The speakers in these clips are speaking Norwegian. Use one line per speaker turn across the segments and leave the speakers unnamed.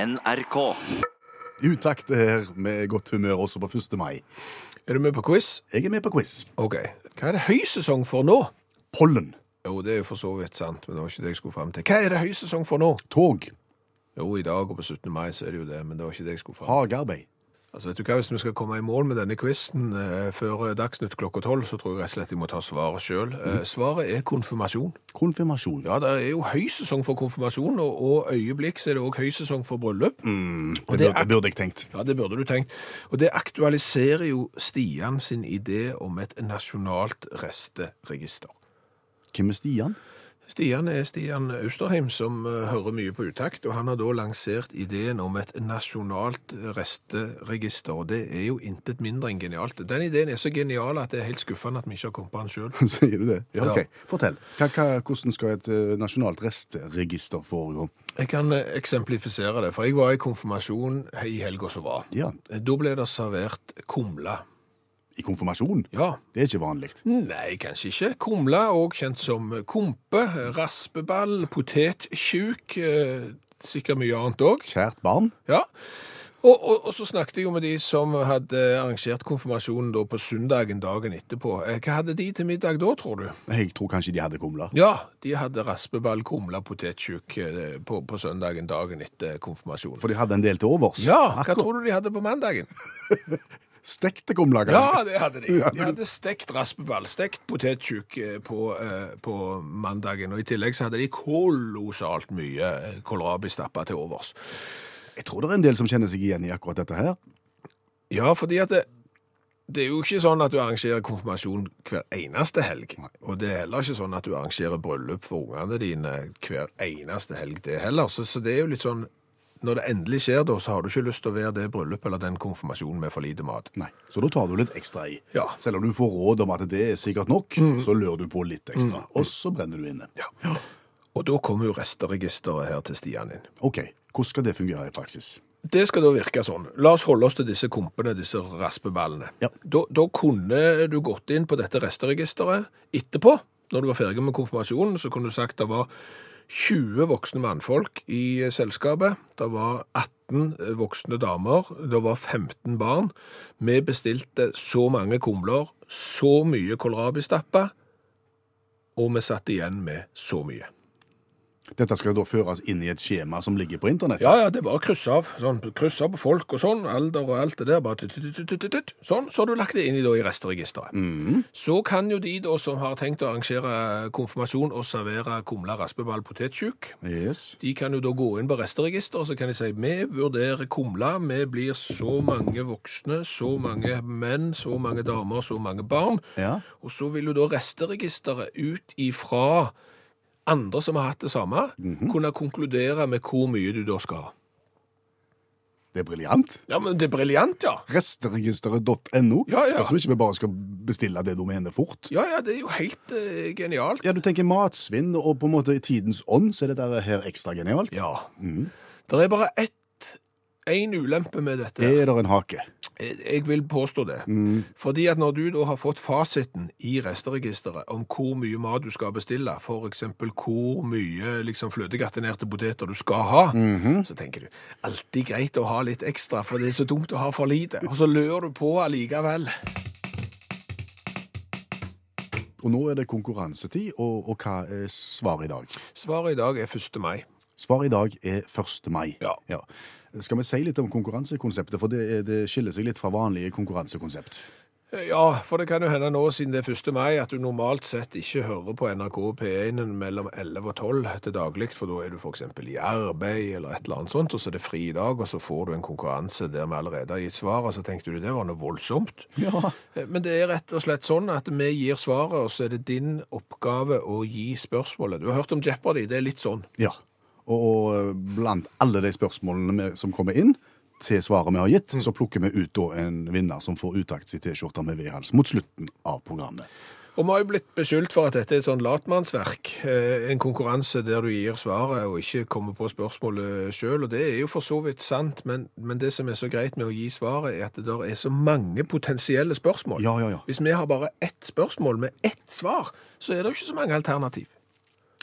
NRK.
I utakt her med godt humør også på 1. mai.
Er du med på quiz?
Jeg er med på quiz.
Ok. Hva er det høysesong for nå?
Pollen.
Jo, det er jo for så vidt sant, men det var ikke det jeg skulle frem til. Hva er det høysesong for nå?
Tog.
Jo, i dag og på 17. mai så er det jo det, men det var ikke det jeg skulle frem til.
Hagearbeid.
Altså, vet du hva, hvis vi skal komme i mål med denne quizen eh, før Dagsnytt klokka tolv, så tror jeg rett og slett jeg må ta svaret sjøl. Eh, svaret er konfirmasjon.
Konfirmasjon.
Ja, det er jo høysesong for konfirmasjon, og, og øyeblikk så er det òg høysesong for bryllup.
Det
Mm, og det
burde,
er-
burde jeg tenkt.
Ja, det burde du tenkt. Og det aktualiserer jo Stian sin idé om et nasjonalt resteregister.
Hvem er Stian?
Stian er Stian Austerheim, som eh, hører mye på utakt, og han har da lansert ideen om et nasjonalt resteregister, og det er jo intet mindre enn genialt. Den ideen er så genial at det er helt skuffende at vi ikke har kommet på den sjøl.
Sier du det? Ja,
Ja.
ok. Fortell. Hva, hva, hvordan skal et eh, nasjonalt restregister foregå?
Jeg kan eh, eksemplifisere det, for jeg var i konfirmasjon i helga som var. Eh,
Ja,
Da ble det servert kumle.
i konfirmasjon.
Ja.
Det er ikke vanlig.
Nei, kanskje ikke. Kumle, òg kjent som kompe, raspeball, potetkjuk. eh, Sikkert mye annet òg.
Kjært barn.
Ja. Og, og, og så snakket jeg jo med de som hadde arrangert konfirmasjonen da på søndagen dagen etterpå. Eh, Hva hadde de til middag da, tror du?
Jeg tror kanskje de hadde kumler.
Ja, de hadde raspeball, kumle, potetskjukk eh, på, på søndagen dagen etter konfirmasjonen.
For de hadde en del til overs.
Ja, hva
Akkurat.
tror du de hadde på mandagen?
Stekte kumler,
Ja,
kanskje.
det hadde de. De hadde stekt raspeball, stekt potetskjukk eh, på, eh, på mandagen, og i tillegg så hadde de kolossalt mye eh, kålrabistappa til overs.
Jeg tror det er en del som kjenner seg igjen i akkurat dette her.
Ja, fordi at det, det er jo ikke sånn at du arrangerer konfirmasjon hver eneste helg. Og det er heller ikke sånn at du arrangerer bryllup for ungene dine hver eneste helg, det heller. Så, så det er jo litt sånn Når det endelig skjer, da, så har du ikke lyst til å være det bryllupet eller den konfirmasjonen med for lite mat.
Nei. Så da tar du litt ekstra i.
Ja. Mhm.
Selv om du får råd om at det er sikkert nok, så lurer du på litt ekstra. Og så brenner du inne.
Ja. Og da kommer jo resteregisteret her til Stian inn.
Ok, hvordan skal det fungere i praksis?
Det skal da virke sånn. La oss holde oss til disse kompene, disse raspeballene.
Ja.
Da, da kunne du gått inn på dette resteregisteret etterpå, når du var ferdig med konfirmasjonen, så kunne du sagt det var 20 voksne mannfolk i eh, selskapet, det var 18 voksne damer, det var 15 barn. Vi bestilte så mange kumler, så mye kålrabistappa, og vi satt igjen med så mye.
Dette skal da føres inn i et skjema som ligger på internett.
Ja, ja, det er bare å krysse av. Sånn, krysse av på folk og sånn, alder og alt det der. Bare tut, tut, tut, tut, tut, tut. Sånn, så har du lagt det inn i, da, i restregisteret.
Mm. Mhm.
Så kan jo de da som har tenkt å arrangere konfirmasjon og servere kumle, raspeball, potetskjukk,
Yes.
de kan jo da gå inn på resteregisteret, og så kan de si vi vurderer kumle, vi blir så mange voksne, så mange menn, så mange damer, så mange barn.
Ja.
Og så vil jo da resteregisteret ut ifra andre som har hatt det samme, kunne konkludere med hvor mye du da skal ha.
Det er briljant.
Ja, men det er briljant, ja.
Restregisteret.no.
Ja, ja.
Spørs om ikke vi bare skal bestille det domenet fort.
Ja, ja, det er jo helt eh, genialt.
Ja, du tenker matsvinn, og på en måte i tidens ånd så er det der her ekstra genialt.
Ja.
Mm.
Det er bare ett en ulempe med dette.
Det er Mm. der en hake.
Jeg jeg vil påstå det. Fordi at når du da har fått fasiten i resteregisteret om hvor mye mat du skal bestille, for eksempel hvor mye liksom, fløtegatinerte poteter du skal ha,
Mhm.
så tenker du, alltid greit å ha litt ekstra, for det er så dumt å ha for lite. Og så lører du på allikevel.
Og nå er det konkurransetid, og, og hva er svaret i dag?
Svaret i dag er 1. mai.
Svaret i dag er 1. mai.
Ja.
Skal vi si litt om konkurransekonseptet, for det, er, det skiller seg litt fra vanlige konkurransekonsept.
Ja, for det kan jo hende nå, siden det er 1. mai, at du normalt sett ikke hører på NRK P1 mellom 11 og 12 til daglig, for da er du f.eks. i arbeid eller et eller annet sånt, og så er det fri i dag, og så får du en konkurranse der vi allerede har gitt svar, og så tenkte du det var noe voldsomt.
Ja.
Eh, Men det er rett og slett sånn at vi gir svaret, og så er det din oppgave å gi spørsmålet. Du har hørt om Jeopardy, det er litt sånn.
Ja. Og, og blant alle de spørsmålene vi- som kommer inn til svaret vi har gitt, så plukker vi ut da en vinner som får utakt i T-skjorta med V-hals mot slutten av programmet.
Og vi har jo blitt beskyldt for at dette er et sånn latmannsverk. eh, En konkurranse der du gir svaret og ikke kommer på spørsmålet sjøl. Og det er jo for så vidt sant, men, men det som er så greit med å gi svaret, er at det der er så mange potensielle spørsmål.
Ja, ja, ja.
Hvis vi har bare ett spørsmål med ett svar, så er det jo ikke så mange alternativ.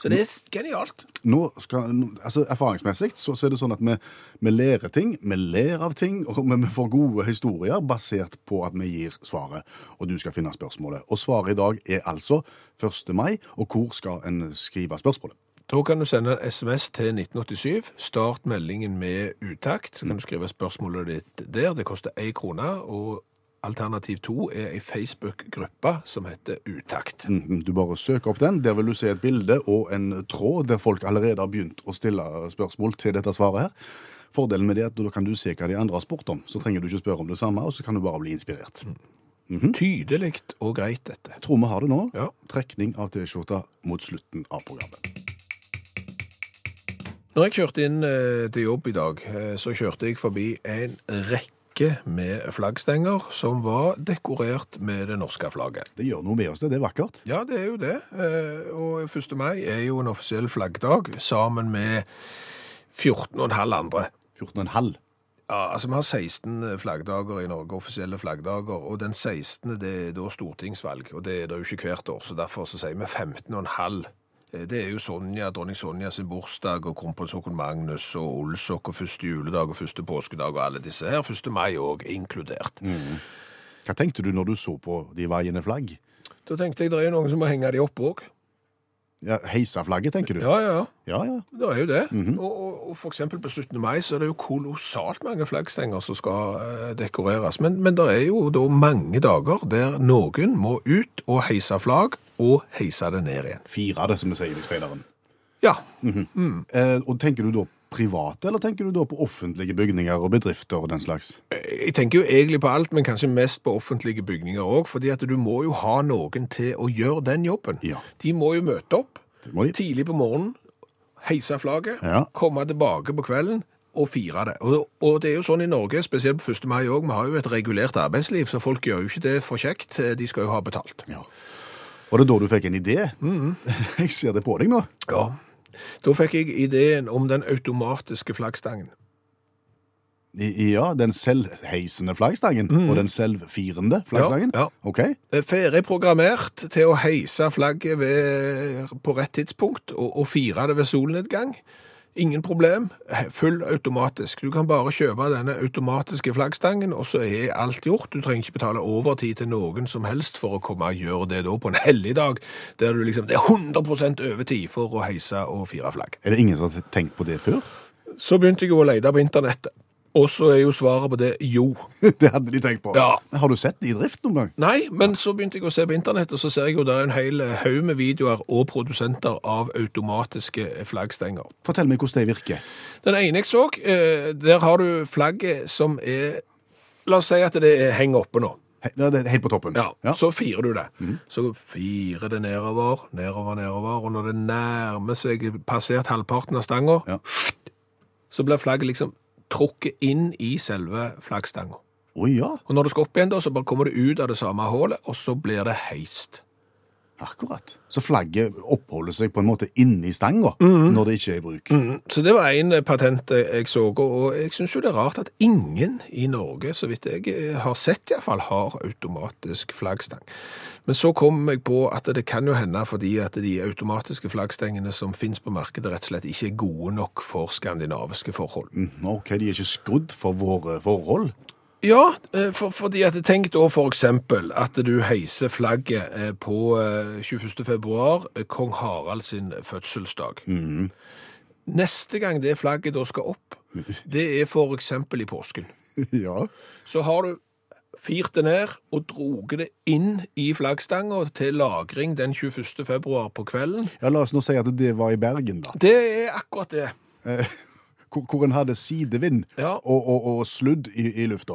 Så det er genialt.
Nå skal, nå- altså Erfaringsmessig så, så er det sånn at vi, vi lærer ting, vi ler av ting, og vi, vi får gode historier basert på at vi gir svaret, og du skal finne spørsmålet. Og svaret i dag er altså 1. mai, og hvor skal en skrive spørsmålet?
Da kan du sende en SMS til 1987. Start meldingen med utakt. Så kan du skrive spørsmålet ditt der. Det koster én krone. Og alternativ to er ei Facebook-gruppe som heter Utakt.
Mhm, Du bare søker opp den. Der vil du se et bilde og en tråd der folk allerede har begynt å stille spørsmål til dette svaret her. Fordelen med det er at da kan du se hva de andre har spurt om. Så trenger du ikke spørre om det samme, og så kan du bare bli inspirert.
Tydelig og greit, dette.
Tror vi har det nå.
Ja.
Trekning av T-skjorta mot slutten av programmet.
Når jeg kjørte inn eh, til jobb i dag, eh, så kjørte jeg forbi en rekke med flaggstenger som var dekorert med det norske flagget.
Det gjør noe med oss, det. Det er vakkert.
Ja, det er jo det. Eh, Og 1. mai er jo en offisiell flaggdag sammen med 14,5 andre.
14,5.
Ja, altså Vi har 16 flaggdager i Norge, offisielle flaggdager, og den 16. det er da stortingsvalg. og Det er det jo ikke hvert år, så derfor så sier vi 15,5. Eh, Det er jo Sonja, dronning Sonja sin bursdag, og kronprins Haakon Magnus, og Olsok, og første juledag, og første påskedag, og alle disse her. 1. mai òg, inkludert.
Hva tenkte du når du så på de vaiende flagg?
Da tenkte jeg det er jo noen som må henge de opp òg.
Ja, Heisa flagget, tenker du?
Ja, ja, ja.
ja. ja.
Det er jo det. og, og, og for eksempel på 17. mai så er det jo kolossalt mange flaggstenger som skal eh, dekoreres. Men, men det er jo da mange dager der noen må ut og heise flagg, og heise det ned igjen.
Fire av det, som vi sier i speideren.
Ja,
Eh, og tenker du da private, eller tenker du da på offentlige bygninger og bedrifter og den slags?
Eh, jeg tenker jo egentlig på alt, men kanskje mest på offentlige bygninger òg. fordi at du må jo ha noen til å gjøre den jobben.
Ja.
De må jo møte opp
Det må de.
tidlig på morgenen, heise flagget,
Ja.
komme tilbake på kvelden og fire det. Og, og det er jo sånn i Norge, spesielt på 1. mai òg, vi har jo et regulert arbeidsliv, så folk gjør jo ikke det for kjekt, Eh, de skal jo ha betalt.
Ja. Var det da du fikk en idé?
Mm-hmm.
Jeg ser det på deg nå.
Ja. Da fikk jeg ideen om den automatiske flaggstangen.
I, ja, den selvheisende flaggstangen og den selvfirende flaggstangen.
Mm-hmm. Ja, ja.
Ok.
Ferdig programmert Eh, til å heise flagget ved, på rett tidspunkt og, og fire det ved solnedgang. Ingen problem. He- Full automatisk. Du kan bare kjøpe denne automatiske flaggstangen, og så er alt gjort. Du trenger ikke betale overtid til noen som helst for å komme og gjøre det da på en helligdag, der du liksom Det er 100 overtid for å heise og fire flagg.
Er det ingen som har tenkt på det før?
Så begynte jeg å lete på internettet, og så er jo svaret på det jo.
det hadde de tenkt på.
Ja.
Men Har du sett det i drift noen gang?
Nei, men så begynte jeg å se på internett, og så ser jeg jo der er en hel eh, haug med videoer og produsenter av automatiske eh, flaggstenger.
Fortell meg hvordan det virker.
Den ene jeg så, eh, der har du flagget som er La oss si at det er heng oppe nå.
He, det er helt på toppen.
Ja,
Ja. Mhm.
Så firer du det. Så firer det nedover, nedover, nedover, og når det nærmer seg passert halvparten av stanga,
Ja.
så blir flagget liksom trukket inn i selve flaggstanga.
Å ja,
Og når det skal opp igjen, da, så bare kommer det ut av det samme hullet, og så blir det heist.
akkurat. Så flagget oppholder seg på en måte inni stanga når det ikke er i bruk.
Mhm. Mm, Så det var en eh, patent eh, jeg så, og- og jeg synes jo det er rart at ingen i Norge, så vidt jeg eh, har sett i hvert fall, har automatisk flaggstang. Men så kom jeg på at det kan jo hende fordi at de automatiske flaggstengene som finnes på markedet rett og slett ikke er gode nok for skandinaviske forhold.
Mm, Ok, de er ikke skrudd for våre forhold.
Ja, eh, for, fordi at tenk da for eksempel at du heiser flagget eh, på eh, 21. februar, eh, kong Harald sin fødselsdag. Neste gang det flagget da skal opp, det er for eksempel i påsken.
ja.
Så har du firt det ned og droget det inn i flaggstangen til lagring den 21. februar på kvelden.
ja, la oss nå si at det var i Bergen, da.
Det er akkurat det.
Hvor, hvor en hadde sidevind
Ja. Mhm.
og, og, og sludd i, i lufta.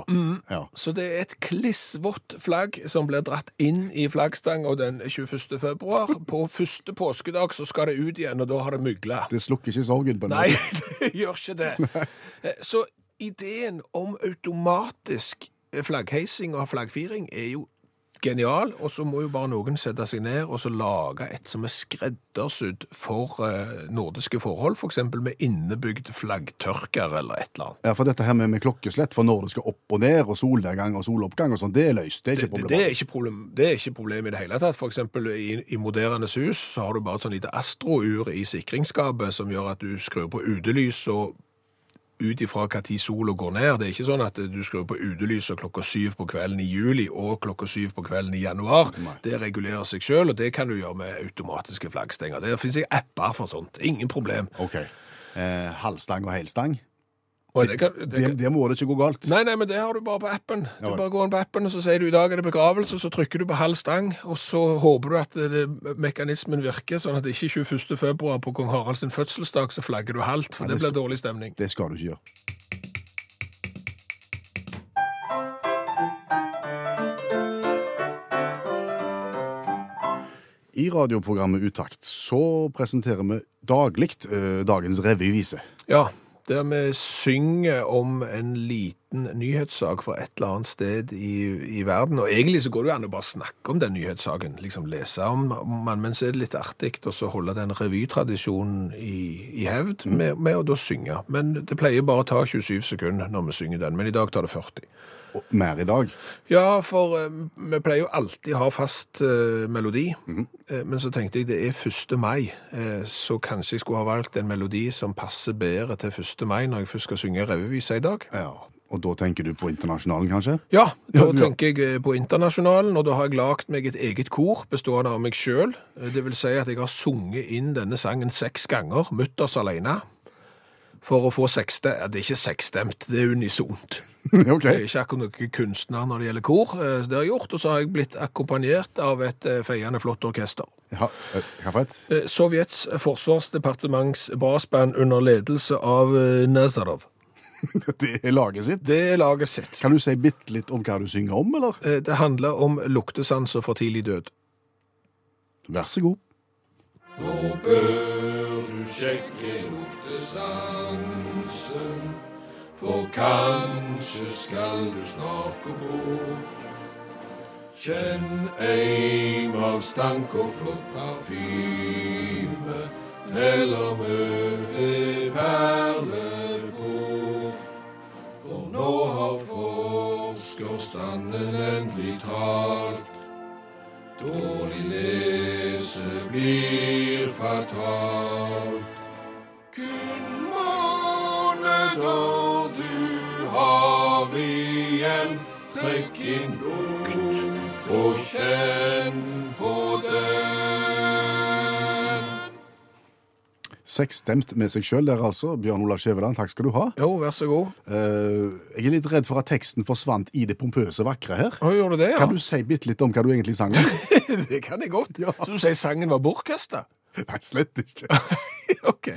Ja.
Så det er et klissvått flagg som blir dratt inn i flaggstanga den 21. februar. På første påskedag så skal det ut igjen, og da har det mygla.
Det slukker ikke sorgen på en
Nei,
måte.
det gjør ikke det. Eh, Så ideen om automatisk flaggheising og flaggfiring er jo genial, og så må jo bare noen sette seg ned og så lage et som er skreddersydd for eh, nordiske forhold, f.eks. med innebygd flaggtørker eller et eller annet.
Ja, for dette her med, med klokkeslett for når det skal opp og ned, og solnedgang og soloppgang og sånn, det er løst. Det er
Det,
ikke
det,
problemet.
det, er ikke problem, det er ikke problem i det hele tatt. For eksempel i, i moderende hus så har du bare et sånn lite astrour i sikringsskapet som gjør at du skrur på utelys og ut ifra hva tid sola går ned. Det er ikke sånn at du skrur på utelyset klokka syv på kvelden i juli og klokka syv på kvelden i januar. Det regulerer seg sjøl, og det kan du gjøre med automatiske flaggstenger. Det finnes ikke apper for sånt. Ingen problem.
Ok. Eh, halvstang og helstang.
Og det kan, det
Det,
kan,
det må det ikke gå galt.
Nei, nei, men det har du bare på appen. Du
Ja vel.
bare går inn på appen, og så sier du i dag er det begravelse, så trykker du på halv stang, og så håper du at eh, det, mekanismen virker, sånn at det ikke 21. februar på kong Haralds sin fødselsdag, så flagger du halvt, for
Nei,
det
det
blir dårlig stemning.
Det skal du ikke gjøre. I radioprogrammet Utakt så presenterer vi daglig eh, dagens revyvise.
Ja, der vi synger om en liten nyhetssak fra et eller annet sted i, i verden. Og egentlig så går det jo an å bare snakke om den nyhetssaken, liksom lese om om den, men så er det litt artig å så holde den revytradisjonen i, i hevd med, med å da synge. Men det pleier bare å ta 27 sekunder når vi synger den, men i dag tar det 40.
Og mer i dag.
Ja, for eh, vi pleier jo alltid ha fast eh, melodi.
Mhm.
Eh, men så tenkte jeg det er 1. mai, eh, så kanskje jeg skulle ha valgt en melodi som passer bedre til 1. mai når jeg først skal synge revyvisa i dag.
Ja, Og da tenker du på Internasjonalen, kanskje?
Ja, da
Ja, ja.
tenker jeg eh, på internasjonalen, og da har jeg lagd meg et eget kor bestående av meg sjøl. Eh, Det vil si at jeg har sunget inn denne sangen seks ganger, mutters aleine, for å få sekste... Ja, det er ikke seksstemt, det er unisont.
ok.
Jeg er Eh, ikke akkurat noen kunstner når det gjelder kor. eh, Det har jeg gjort, og så har jeg blitt akkompagnert av et eh, feiende flott orkester.
Ja, eh, hva for et?
Eh, Sovjets forsvarsdepartements brassband under ledelse av eh, Nazarov.
Det er laget sitt.
Det er laget sitt.
Kan du si bitte litt om hva du synger om, eller?
Eh, Det handler om luktesans og for tidlig død.
Vær så god.
Nå bør du sjekke luktesansen, for kanskje skal du snart gå bort. Kjenn eim av stank og flott parfyme, eller møte perlebord. For nå har forskerstanden endelig talt, Dårlig lese blir fatalt. Kun måneder du har igjen, trekk inn lukt og kjenn på den.
Seksstemt med seg sjøl der, altså. Bjørn Olav Skjæveland, takk skal du ha.
Jo, vær så god.
Eh, jeg er litt redd for at teksten forsvant i det pompøse vakre her.
Å, gjorde du det, ja?
Kan du si bitte litt om hva du egentlig sang om?
det kan jeg godt. Så du sier sangen var bortkasta?
Nei, slett ikke.
ok.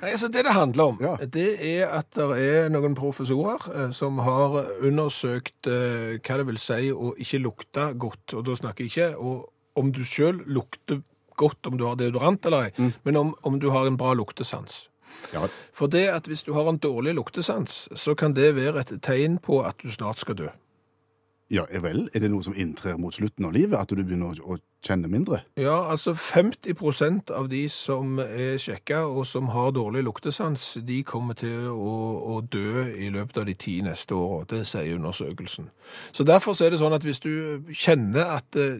Nei, altså det det handler om,
Ja.
det er at det er noen professorer eh, som har undersøkt eh, hva det vil si å ikke lukte godt, og da snakker jeg ikke og om du selv lukter godt, om du har deodorant eller ei, men om, om du har en bra luktesans.
Ja,
For det at hvis du har en dårlig luktesans, så kan det være et tegn på at du snart skal dø.
ja vel, er det noe som inntrer mot slutten av livet? At du begynner å, å kjenne mindre?
Ja, altså 50 av de som er sjekka og som har dårlig luktesans, de kommer til å, å dø i løpet av de ti neste åra. Det sier undersøkelsen. Så derfor så er det sånn at hvis du kjenner at eh,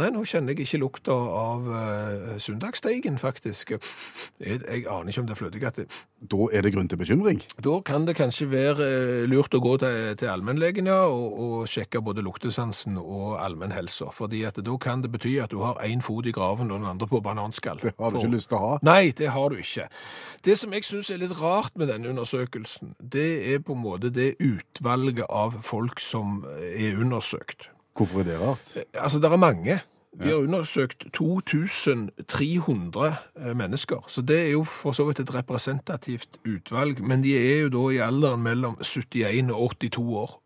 Nei, nå kjenner jeg ikke lukta av uh, søndagsteigen, faktisk. Jeg, jeg aner ikke om det er fløtegatte.
Da er det grunn til bekymring.
Da kan det kanskje være eh, lurt å gå til, til allmennlegen ja, og, og sjekke både luktesansen og allmennhelsa. Fordi at da kan det bety at du har én fot i graven og den andre på bananskall.
Det har du
For-
ikke lyst til å ha.
Nei, det har du ikke. Det som jeg syns er litt rart med denne undersøkelsen, det er på en måte det utvalget av folk som eh, er undersøkt.
Hvorfor er det rart?
Altså, det er mange. De har undersøkt 2300 eh, mennesker, så det er jo for så vidt et representativt utvalg, men de er jo da i alderen mellom 71 og 82 år.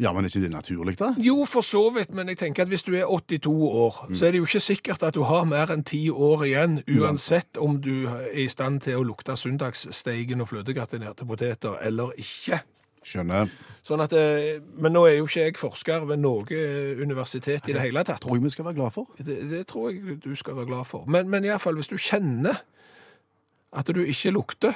Ja, men er ikke det naturlig, da?
Jo, for så vidt, men jeg tenker at hvis du er 82 år, så er det jo ikke sikkert at du har mer enn 10 år igjen, uansett om du er i stand til å lukte søndagssteigen og fløtegratinerte poteter eller ikke.
Skjønner.
Sånn at, eh, men nå er jo ikke jeg forsker ved noe eh, universitet i det hele tatt.
Tror jeg vi skal være glad for.
Det, det tror jeg du skal være glad for. Men, men i alle fall, hvis du kjenner at du ikke lukter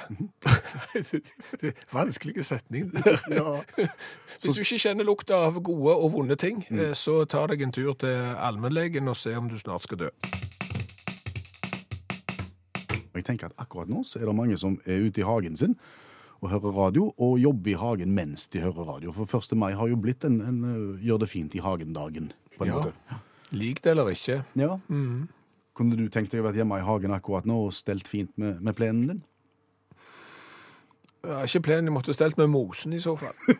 det, det er Vanskelige setning der. Hvis du ikke kjenner lukta av gode og vonde ting, eh, så ta deg en tur til allmennlegen og se om du snart skal dø.
Jeg tenker at akkurat nå så er det mange som er ute i hagen sin og hører radio, og jobber i hagen mens de hører radio. For 1. mai har jo blitt en, en eh, gjør det fint i hagen-dagen, på en
Ja.
måte.
Lik det eller ikke.
Ja.
Mm.
Kunne du tenkt deg å være hjemme i hagen akkurat nå og stelt fint med, med plenen din?
Ja, ikke plenen jeg måtte stelt med mosen i så fall.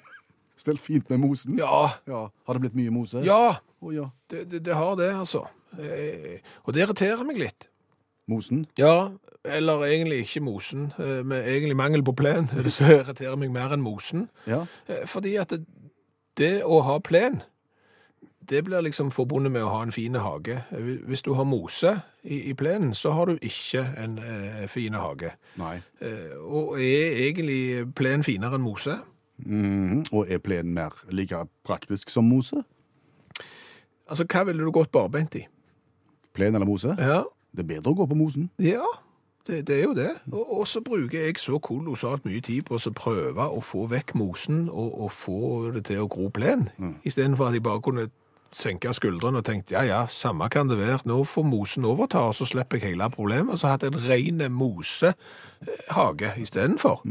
Stelt fint med mosen?
Ja,
Har det blitt mye mose?
ja,
Å, ja.
det, det, det har det altså. Eh, Og det irriterer meg litt.
Mosen?
Ja, eller egentlig ikke mosen, eh, med egentlig mangel på plen. Det som irriterer meg mer enn mosen.
Ja.
Eh, Fordi at det, det å ha plen, det blir liksom forbundet med å ha en fin hage. Eh, Hvis du har mose i, i plenen, så har du ikke en eh, fin hage.
Nei.
Eh, og er egentlig plen finere enn mose?
Mhm. Og er plenen mer like praktisk som mose?
Altså, hva ville du gått barbeint i?
Plen eller mose?
Ja,
Det er bedre å gå på mosen.
Ja, det, det er jo det. Og, og så bruker jeg så kolossalt mye tid på å så prøve å få vekk mosen og, og få det til å gro plen, istedenfor at jeg bare kunne senke skuldrene og tenkte, ja, ja, samme kan det være. Nå får mosen overta, og så slipper jeg hele problemet. Og så hadde jeg en rene mosehage istedenfor.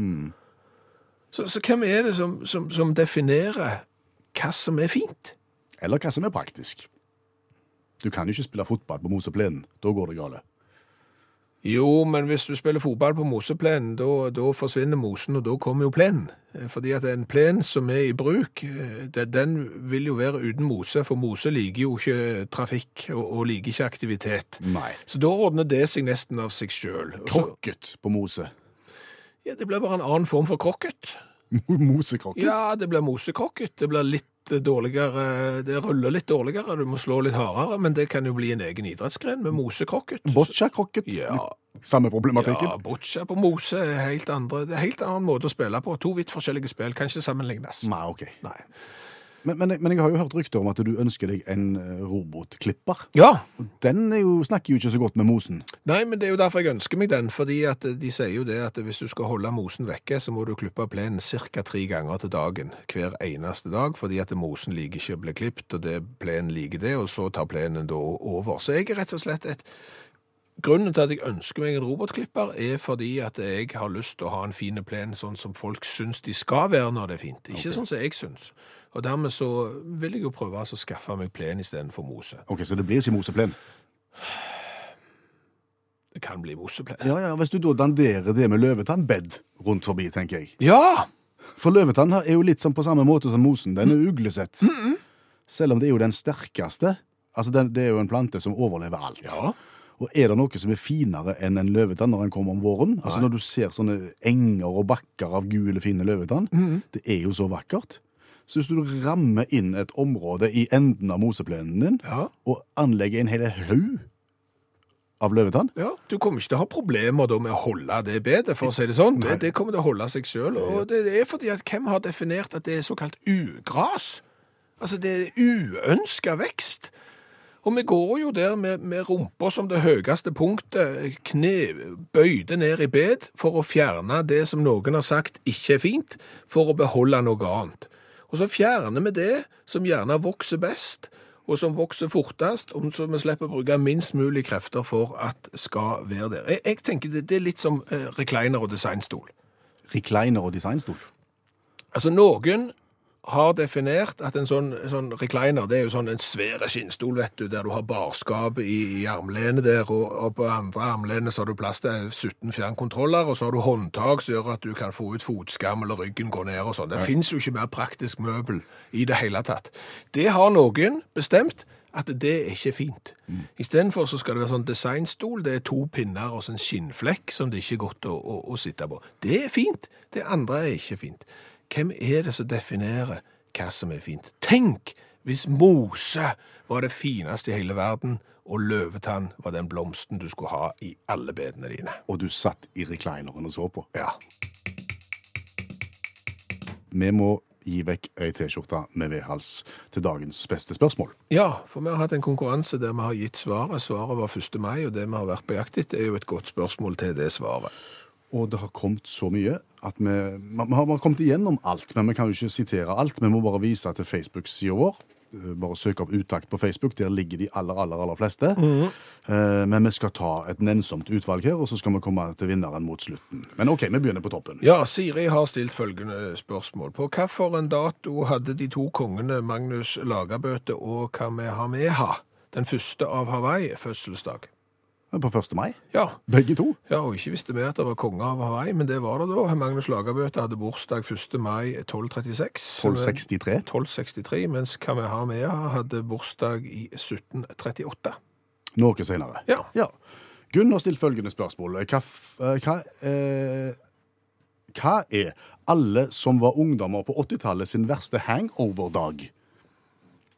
Så, så hvem er det som, som, som definerer hva som er fint?
Eller hva som er praktisk. Du kan jo ikke spille fotball på moseplenen. Da går det gale.
Jo, men hvis du spiller fotball på moseplenen, da, da forsvinner mosen, og da kommer jo plenen. Eh, Fordi at en plen som er i bruk, eh, det, den vil jo være uten mose, for mose liker jo ikke eh, trafikk og, og liker ikke aktivitet.
Nei.
Så da ordner det seg nesten av seg sjøl.
Krokket på mose.
Ja, det blir bare en annen form for krokket.
Mosekrokket?
Ja, det blir mosekrokket. Det blir litt eh, dårligere, det ruller litt dårligere, du må slå litt hardere, men det kan jo bli en egen idrettsgren med mosekrokket.
Boccia-krokket?
Ja,
Samme problematikken?
Ja, boccia på mose er helt andre. Det er en helt annen måte å spille på. To vidt forskjellige spill kan ikke sammenlignes.
Nei, ok.
Nei.
Men, men, men jeg har jo hørt rykter om at du ønsker deg en eh, robotklipper.
Ja,
Den er jo, snakker jo ikke så godt med mosen.
nei, men det er jo derfor jeg ønsker meg den, fordi at eh, de sier jo det at hvis du skal holde mosen vekke, så må du klippe plenen cirka tre ganger til dagen, hver eneste dag, fordi at mosen liker ikke å bli klippt, og det, plenen liker det, og så tar plenen da over. Så jeg er rett og slett et Grunnen til at jeg ønsker meg en robotklipper, er fordi at jeg har lyst til å ha en fin plen sånn som folk syns de skal være når det er fint. Ikke sånn som jeg syns. Og dermed så vil jeg jo prøve altså å skaffe meg plen istedenfor mose.
Ok, Så det blir ikke moseplen?
Det kan bli moseplen.
Ja, ja, Hvis du da danderer det med løvetannbed rundt forbi, tenker jeg.
Ja!
For løvetann er jo litt sånn på samme måte som mosen. Den er uglesett. Selv om det er jo den sterkeste. Altså, den, Det er jo en plante som overlever alt.
Ja.
Og er det noe som er finere enn en løvetann når den kommer om våren? Altså Når du ser sånne enger og bakker av gule, fine løvetann, det er jo så vakkert. Så hvis du rammer inn et område i enden av moseplenen din,
Ja.
og anlegger en hel haug av løvetann
ja. Du kommer ikke til å ha problemer da med å holde det bedre, for å si det sånn. Det, det kommer til å holde seg sjøl. Og det er fordi at hvem har definert at det er såkalt ugras? Altså, det er uønska vekst. Og vi går jo der med, med rumpa som det høyeste punktet, kne bøyde ned i bed, for å fjerne det som noen har sagt ikke er fint, for å beholde noe annet. Og så fjerner vi det som gjerne vokser best, og som vokser fortest, og som vi slipper å bruke minst mulig krefter for at skal være der. Jeg, jeg tenker det, det er litt som eh, recliner og designstol.
Recliner og designstol.
Altså, noen har definert at en sånn, sånn recliner, det er jo sånn en svære skinnstol, vet du, der du har barskap i, i armlenet der, og, og på andre armlenet så har du plass til 17 fjernkontroller, og så har du håndtak som gjør at du kan få ut fotskam eller ryggen går ned og sånn. Det finnes jo ikke mer praktisk møbel i det hele tatt. Det har noen bestemt at det er ikke fint. I stedet for så skal det være sånn designstol, det er to pinner og så en skinnflekk som det ikke er godt å, å, å sitte på. Det er fint, det andre er ikke fint. Hvem er det som definerer hva som er fint? Tenk hvis mose var det fineste i hele verden, og løvetann var den blomsten du skulle ha i alle bedene dine.
Og du satt i reclineren og så på.
Ja.
Vi må gi vekk ei T-skjorte med V-hals til dagens beste spørsmål.
Ja, for vi har hatt en konkurranse der vi har gitt svaret. Svaret var 1. mai, og det vi har vært på jakt etter, er jo et godt spørsmål til det svaret.
Og det har kommet så mye at vi, vi har vi har kommet igjennom alt, men vi kan jo ikke sitere alt. Vi må bare vise til Facebook-sida vår. Eh, Bare søk opp Utakt på Facebook. Der ligger de aller, aller, aller fleste. Eh, Men vi skal ta et nennsomt utvalg her, og så skal vi komme til vinneren mot slutten. Men OK, vi begynner på toppen.
Ja, Siri har stilt følgende spørsmål. På hvilken dato hadde de to kongene Magnus Lagabøte og Kamehameha den første av Hawaii fødselsdag?
På 1. mai.
Ja,
Begge to.
Ja, og ikke visste vi at det var konge av Hawaii, men det var det da. Magnus Lagerbøte hadde bursdag 1. mai 1236.
1263.
1263, mens Kamehameha hadde bursdag i 1738.
Noe senere.
Ja.
Ja. Gunn har stilt følgende spørsmål. Hva, f- eh, hva, eh, hva er alle som var ungdommer på 80-tallet sin verste hangover-dag?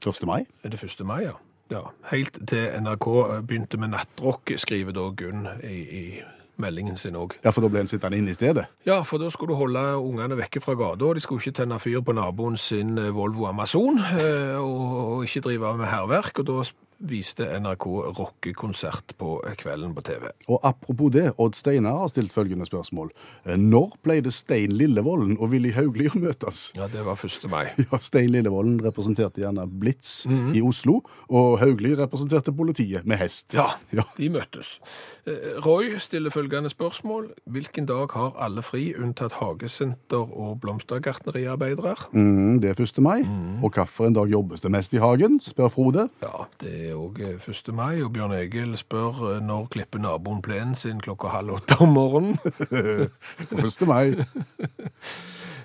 1. mai?
Er det 1. mai, ja? Ja. Helt til NRK begynte med nattrock, skriver da Gunn i, i meldingen sin òg.
Ja, for da ble en sittende inne i stedet.
Ja, for da skulle du holde ungene vekke fra gata, og de skulle ikke tenne fyr på naboen sin eh, Volvo Amazon, eh, og og ikke drive med hærverk, og da s- viste NRK rockekonsert på eh, kvelden på TV.
Og apropos det, Odd Steinar har stilt følgende spørsmål. Eh, Når pleide Stein Lillevolden og Willy Haugli å møtes?
Ja, det var 1. mai.
Ja, Stein Lillevolden representerte gjerne Blitz i Oslo, og Haugli representerte politiet med hest.
Ja,
Ja.
de møttes. Eh, Roy stiller følgende spørsmål. Hvilken dag har alle fri, unntatt hagesenter og blomstergartneriarbeidere?
Mm, det er 1. mai. Og hvilken dag jobbes det mest i hagen, spør Frode.
Ja, det er òg 1. mai, og Bjørn Egil spør eh, når klipper naboen plenen sin klokka halv åtte om morgenen?
1. mai.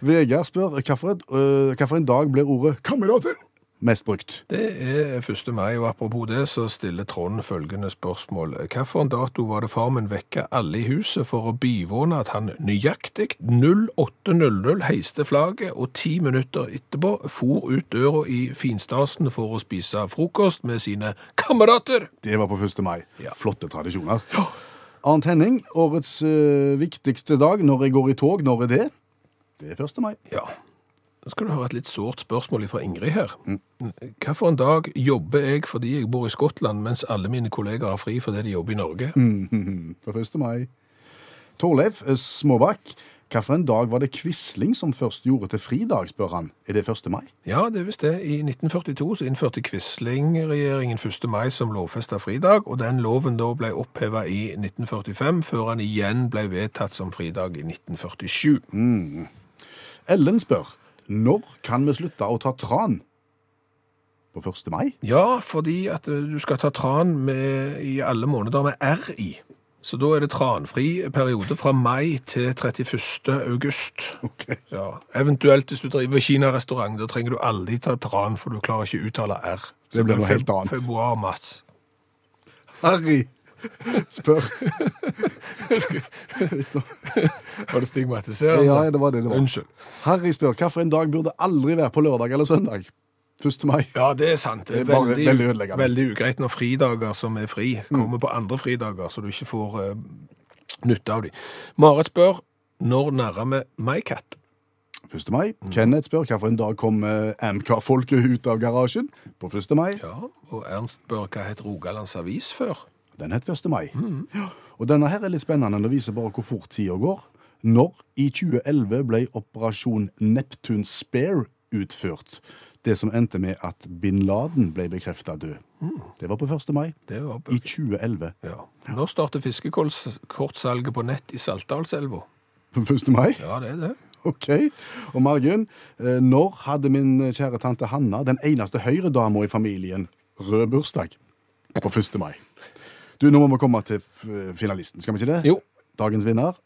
Vegard spør hvilken øh, hvilken dag blir ordet 'kamerater' mest brukt.
Det er 1. mai, og apropos det, så stiller Trond følgende spørsmål. Hvilken dato var det far min vekka alle i huset for å bivåne at han nøyaktig 08.00 heiste flagget, og ti minutter etterpå for ut døra i finstasen for å spise frokost med sine kamerater?
Det var på 1. mai.
Ja.
Flotte tradisjoner. Arnt Henning, årets øh, viktigste dag når jeg går i tog, når er det? Det er 1. mai.
Ja. Nå skal du høre et litt sårt spørsmål fra Ingrid her. Hvilken dag jobber jeg fordi jeg bor i Skottland, mens alle mine kolleger har fri fordi de jobber i Norge?
På 1. mai. Torleif øh, Småbakk, hvilken dag var det Quisling som først gjorde til fridag, spør han. Er det 1. mai?
Ja, det er visst det. I 1942 så innførte Quisling-regjeringen 1. mai som lovfesta fridag, og den loven da ble oppheva i 1945, før han igjen ble vedtatt som fridag i 1947.
Ellen spør når kan vi slutte å ta tran? På 1. mai?
Ja, fordi at eh, du skal ta tran med, i alle måneder med R i. Så da er det tranfri periode fra mai til 31. august.
Ok.
Ja, Eventuelt hvis du driver kinarestaurant, da trenger du aldri ta tran, for du klarer ikke å uttale R. Så
Det blir noe
feb-
helt annet.
Februar-mars.
Harry spør
Var det stigmatiserende?
Ja, det var det det var.
Unnskyld.
Harry spør hvilken dag burde aldri være på lørdag eller søndag. 1. mai.
Ja, det er sant. Det er
Det er bare
veldig,
veldig ødeleggende. Mm.
veldig ugreit når fridager som er fri, kommer på andre fridager, så du ikke får eh, nytte av dem. Marit spør når nærmer vi Maikatt?
1. mai. Kenneth spør hvilken dag kom eh, Amcar-folket ut av garasjen. På 1. mai.
Ja, og Ernst spør hva het Rogalands Avis før?
Den het 1. mai. Ja. Og denne her er litt spennende. Den viser bare hvor fort tida går. Når i 2011 ble operasjon Neptune Spare utført. Det som endte med at bin Laden ble bekrefta død. Det var på 1. mai
Det var
i 2011.
ja. Når starter fiskekortsalget på nett i Saltdalselva?
På 1. mai?
Ja, det er det.
Ok. Og Margunn, eh, når hadde min kjære tante Hanna, den eneste høyredama i familien, rød bursdag? På 1. mai. Du, nå må vi komme til f- finalisten, skal vi ikke det?
Jo.
Dagens vinner.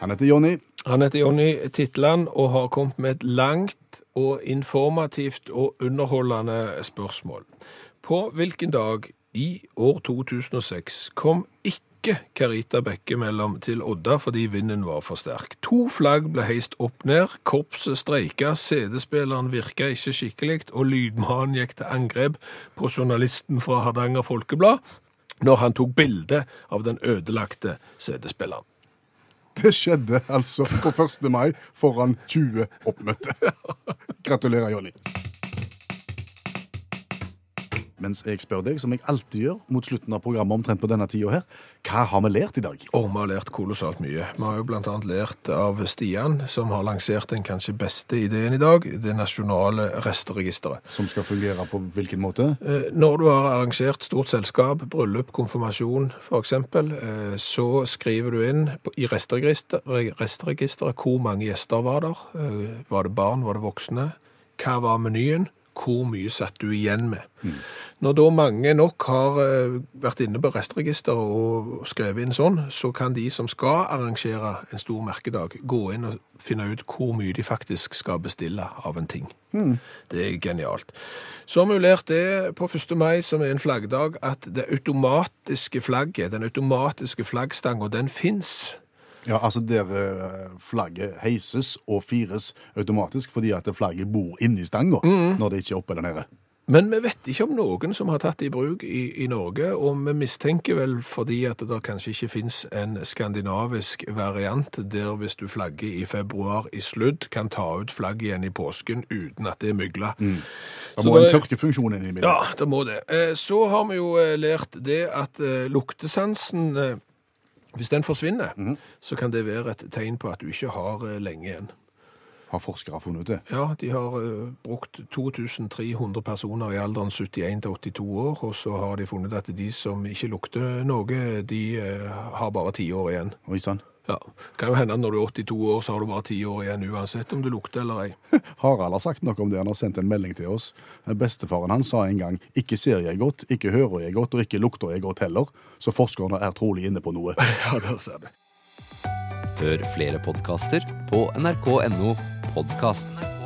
Han heter Jonny.
Han heter Jonny Titland og har kommet med et langt og informativt og underholdende spørsmål. På hvilken dag i år 2006 kom ikke Carita Bekke mellom til Odda fordi vinden var for sterk. To flagg ble heist opp ned, korpset streika, CD-spilleren virka ikke skikkelig, og lydmannen gikk til angrep på journalisten fra Hardanger Folkeblad når han tok bilde av den ødelagte CD-spilleren.
Dette skjedde altså på 1. mai foran 20 oppmøtte. Gratulerer, Jonny. Mens jeg spør deg, som jeg alltid gjør mot slutten av programmet, omtrent på denne tida her, hva har vi lært i dag?
Og vi har lært kolossalt mye. Vi har jo blant annet lært av Stian, som har lansert den kanskje beste ideen i dag, det nasjonale resteregisteret.
Som skal fungere på hvilken måte?
Eh, Når du har arrangert stort selskap, bryllup, konfirmasjon f.eks., så skriver du inn på- i restregister- re- restregisteret hvor mange gjester var der. eh, Var det barn, var det voksne? Hva var menyen? Hvor mye satt du igjen med? Når da mange nok har eh, vært inne på restregisteret og skrevet inn sånn, så kan de som skal arrangere en stor merkedag, gå inn og finne ut hvor mye de faktisk skal bestille av en ting. Det er genialt. Så har vi jo lært det på 1. mai, som er en flaggdag, at det automatiske flagget, den automatiske flaggstangen, den fins.
Ja, altså Der eh, flagget heises og fires automatisk fordi at flagget bor inni stanga
Mm.
når det ikke er oppe eller nede.
Men vi vet ikke om noen som har tatt det i bruk i, i Norge, og vi mistenker vel fordi at det kanskje ikke fins en skandinavisk variant der hvis du flagger i februar i sludd, kan ta ut flagget igjen i påsken uten at det er mygla.
Det
Så
Mm. må en
det-
tørkefunksjon inn i bildet.
Ja, det må det. Eh, Så har vi jo eh, lært det at eh, luktesansen, eh, hvis den forsvinner,
Mhm.
så kan det være et tegn på at du ikke har eh, lenge igjen.
Har forskere funnet ut det?
Ja, de har eh, brukt 2300 personer i alderen 71 til 82 år, og så har de funnet at de som ikke lukter noe, de eh, har bare 10 år igjen.
Oi sann.
Ja, kan jo hende at når du er 82 år, så har du bare 10 år igjen, uansett om du lukter eller ei.
Harald har sagt noe om det. Han har sendt en melding til oss. Bestefaren hans sa en gang 'ikke ser jeg godt, ikke hører jeg godt, og ikke lukter jeg godt heller', så forskerne er trolig inne på noe.
Ja, der ser du.
Hør flere podkaster på nrk.no podkast.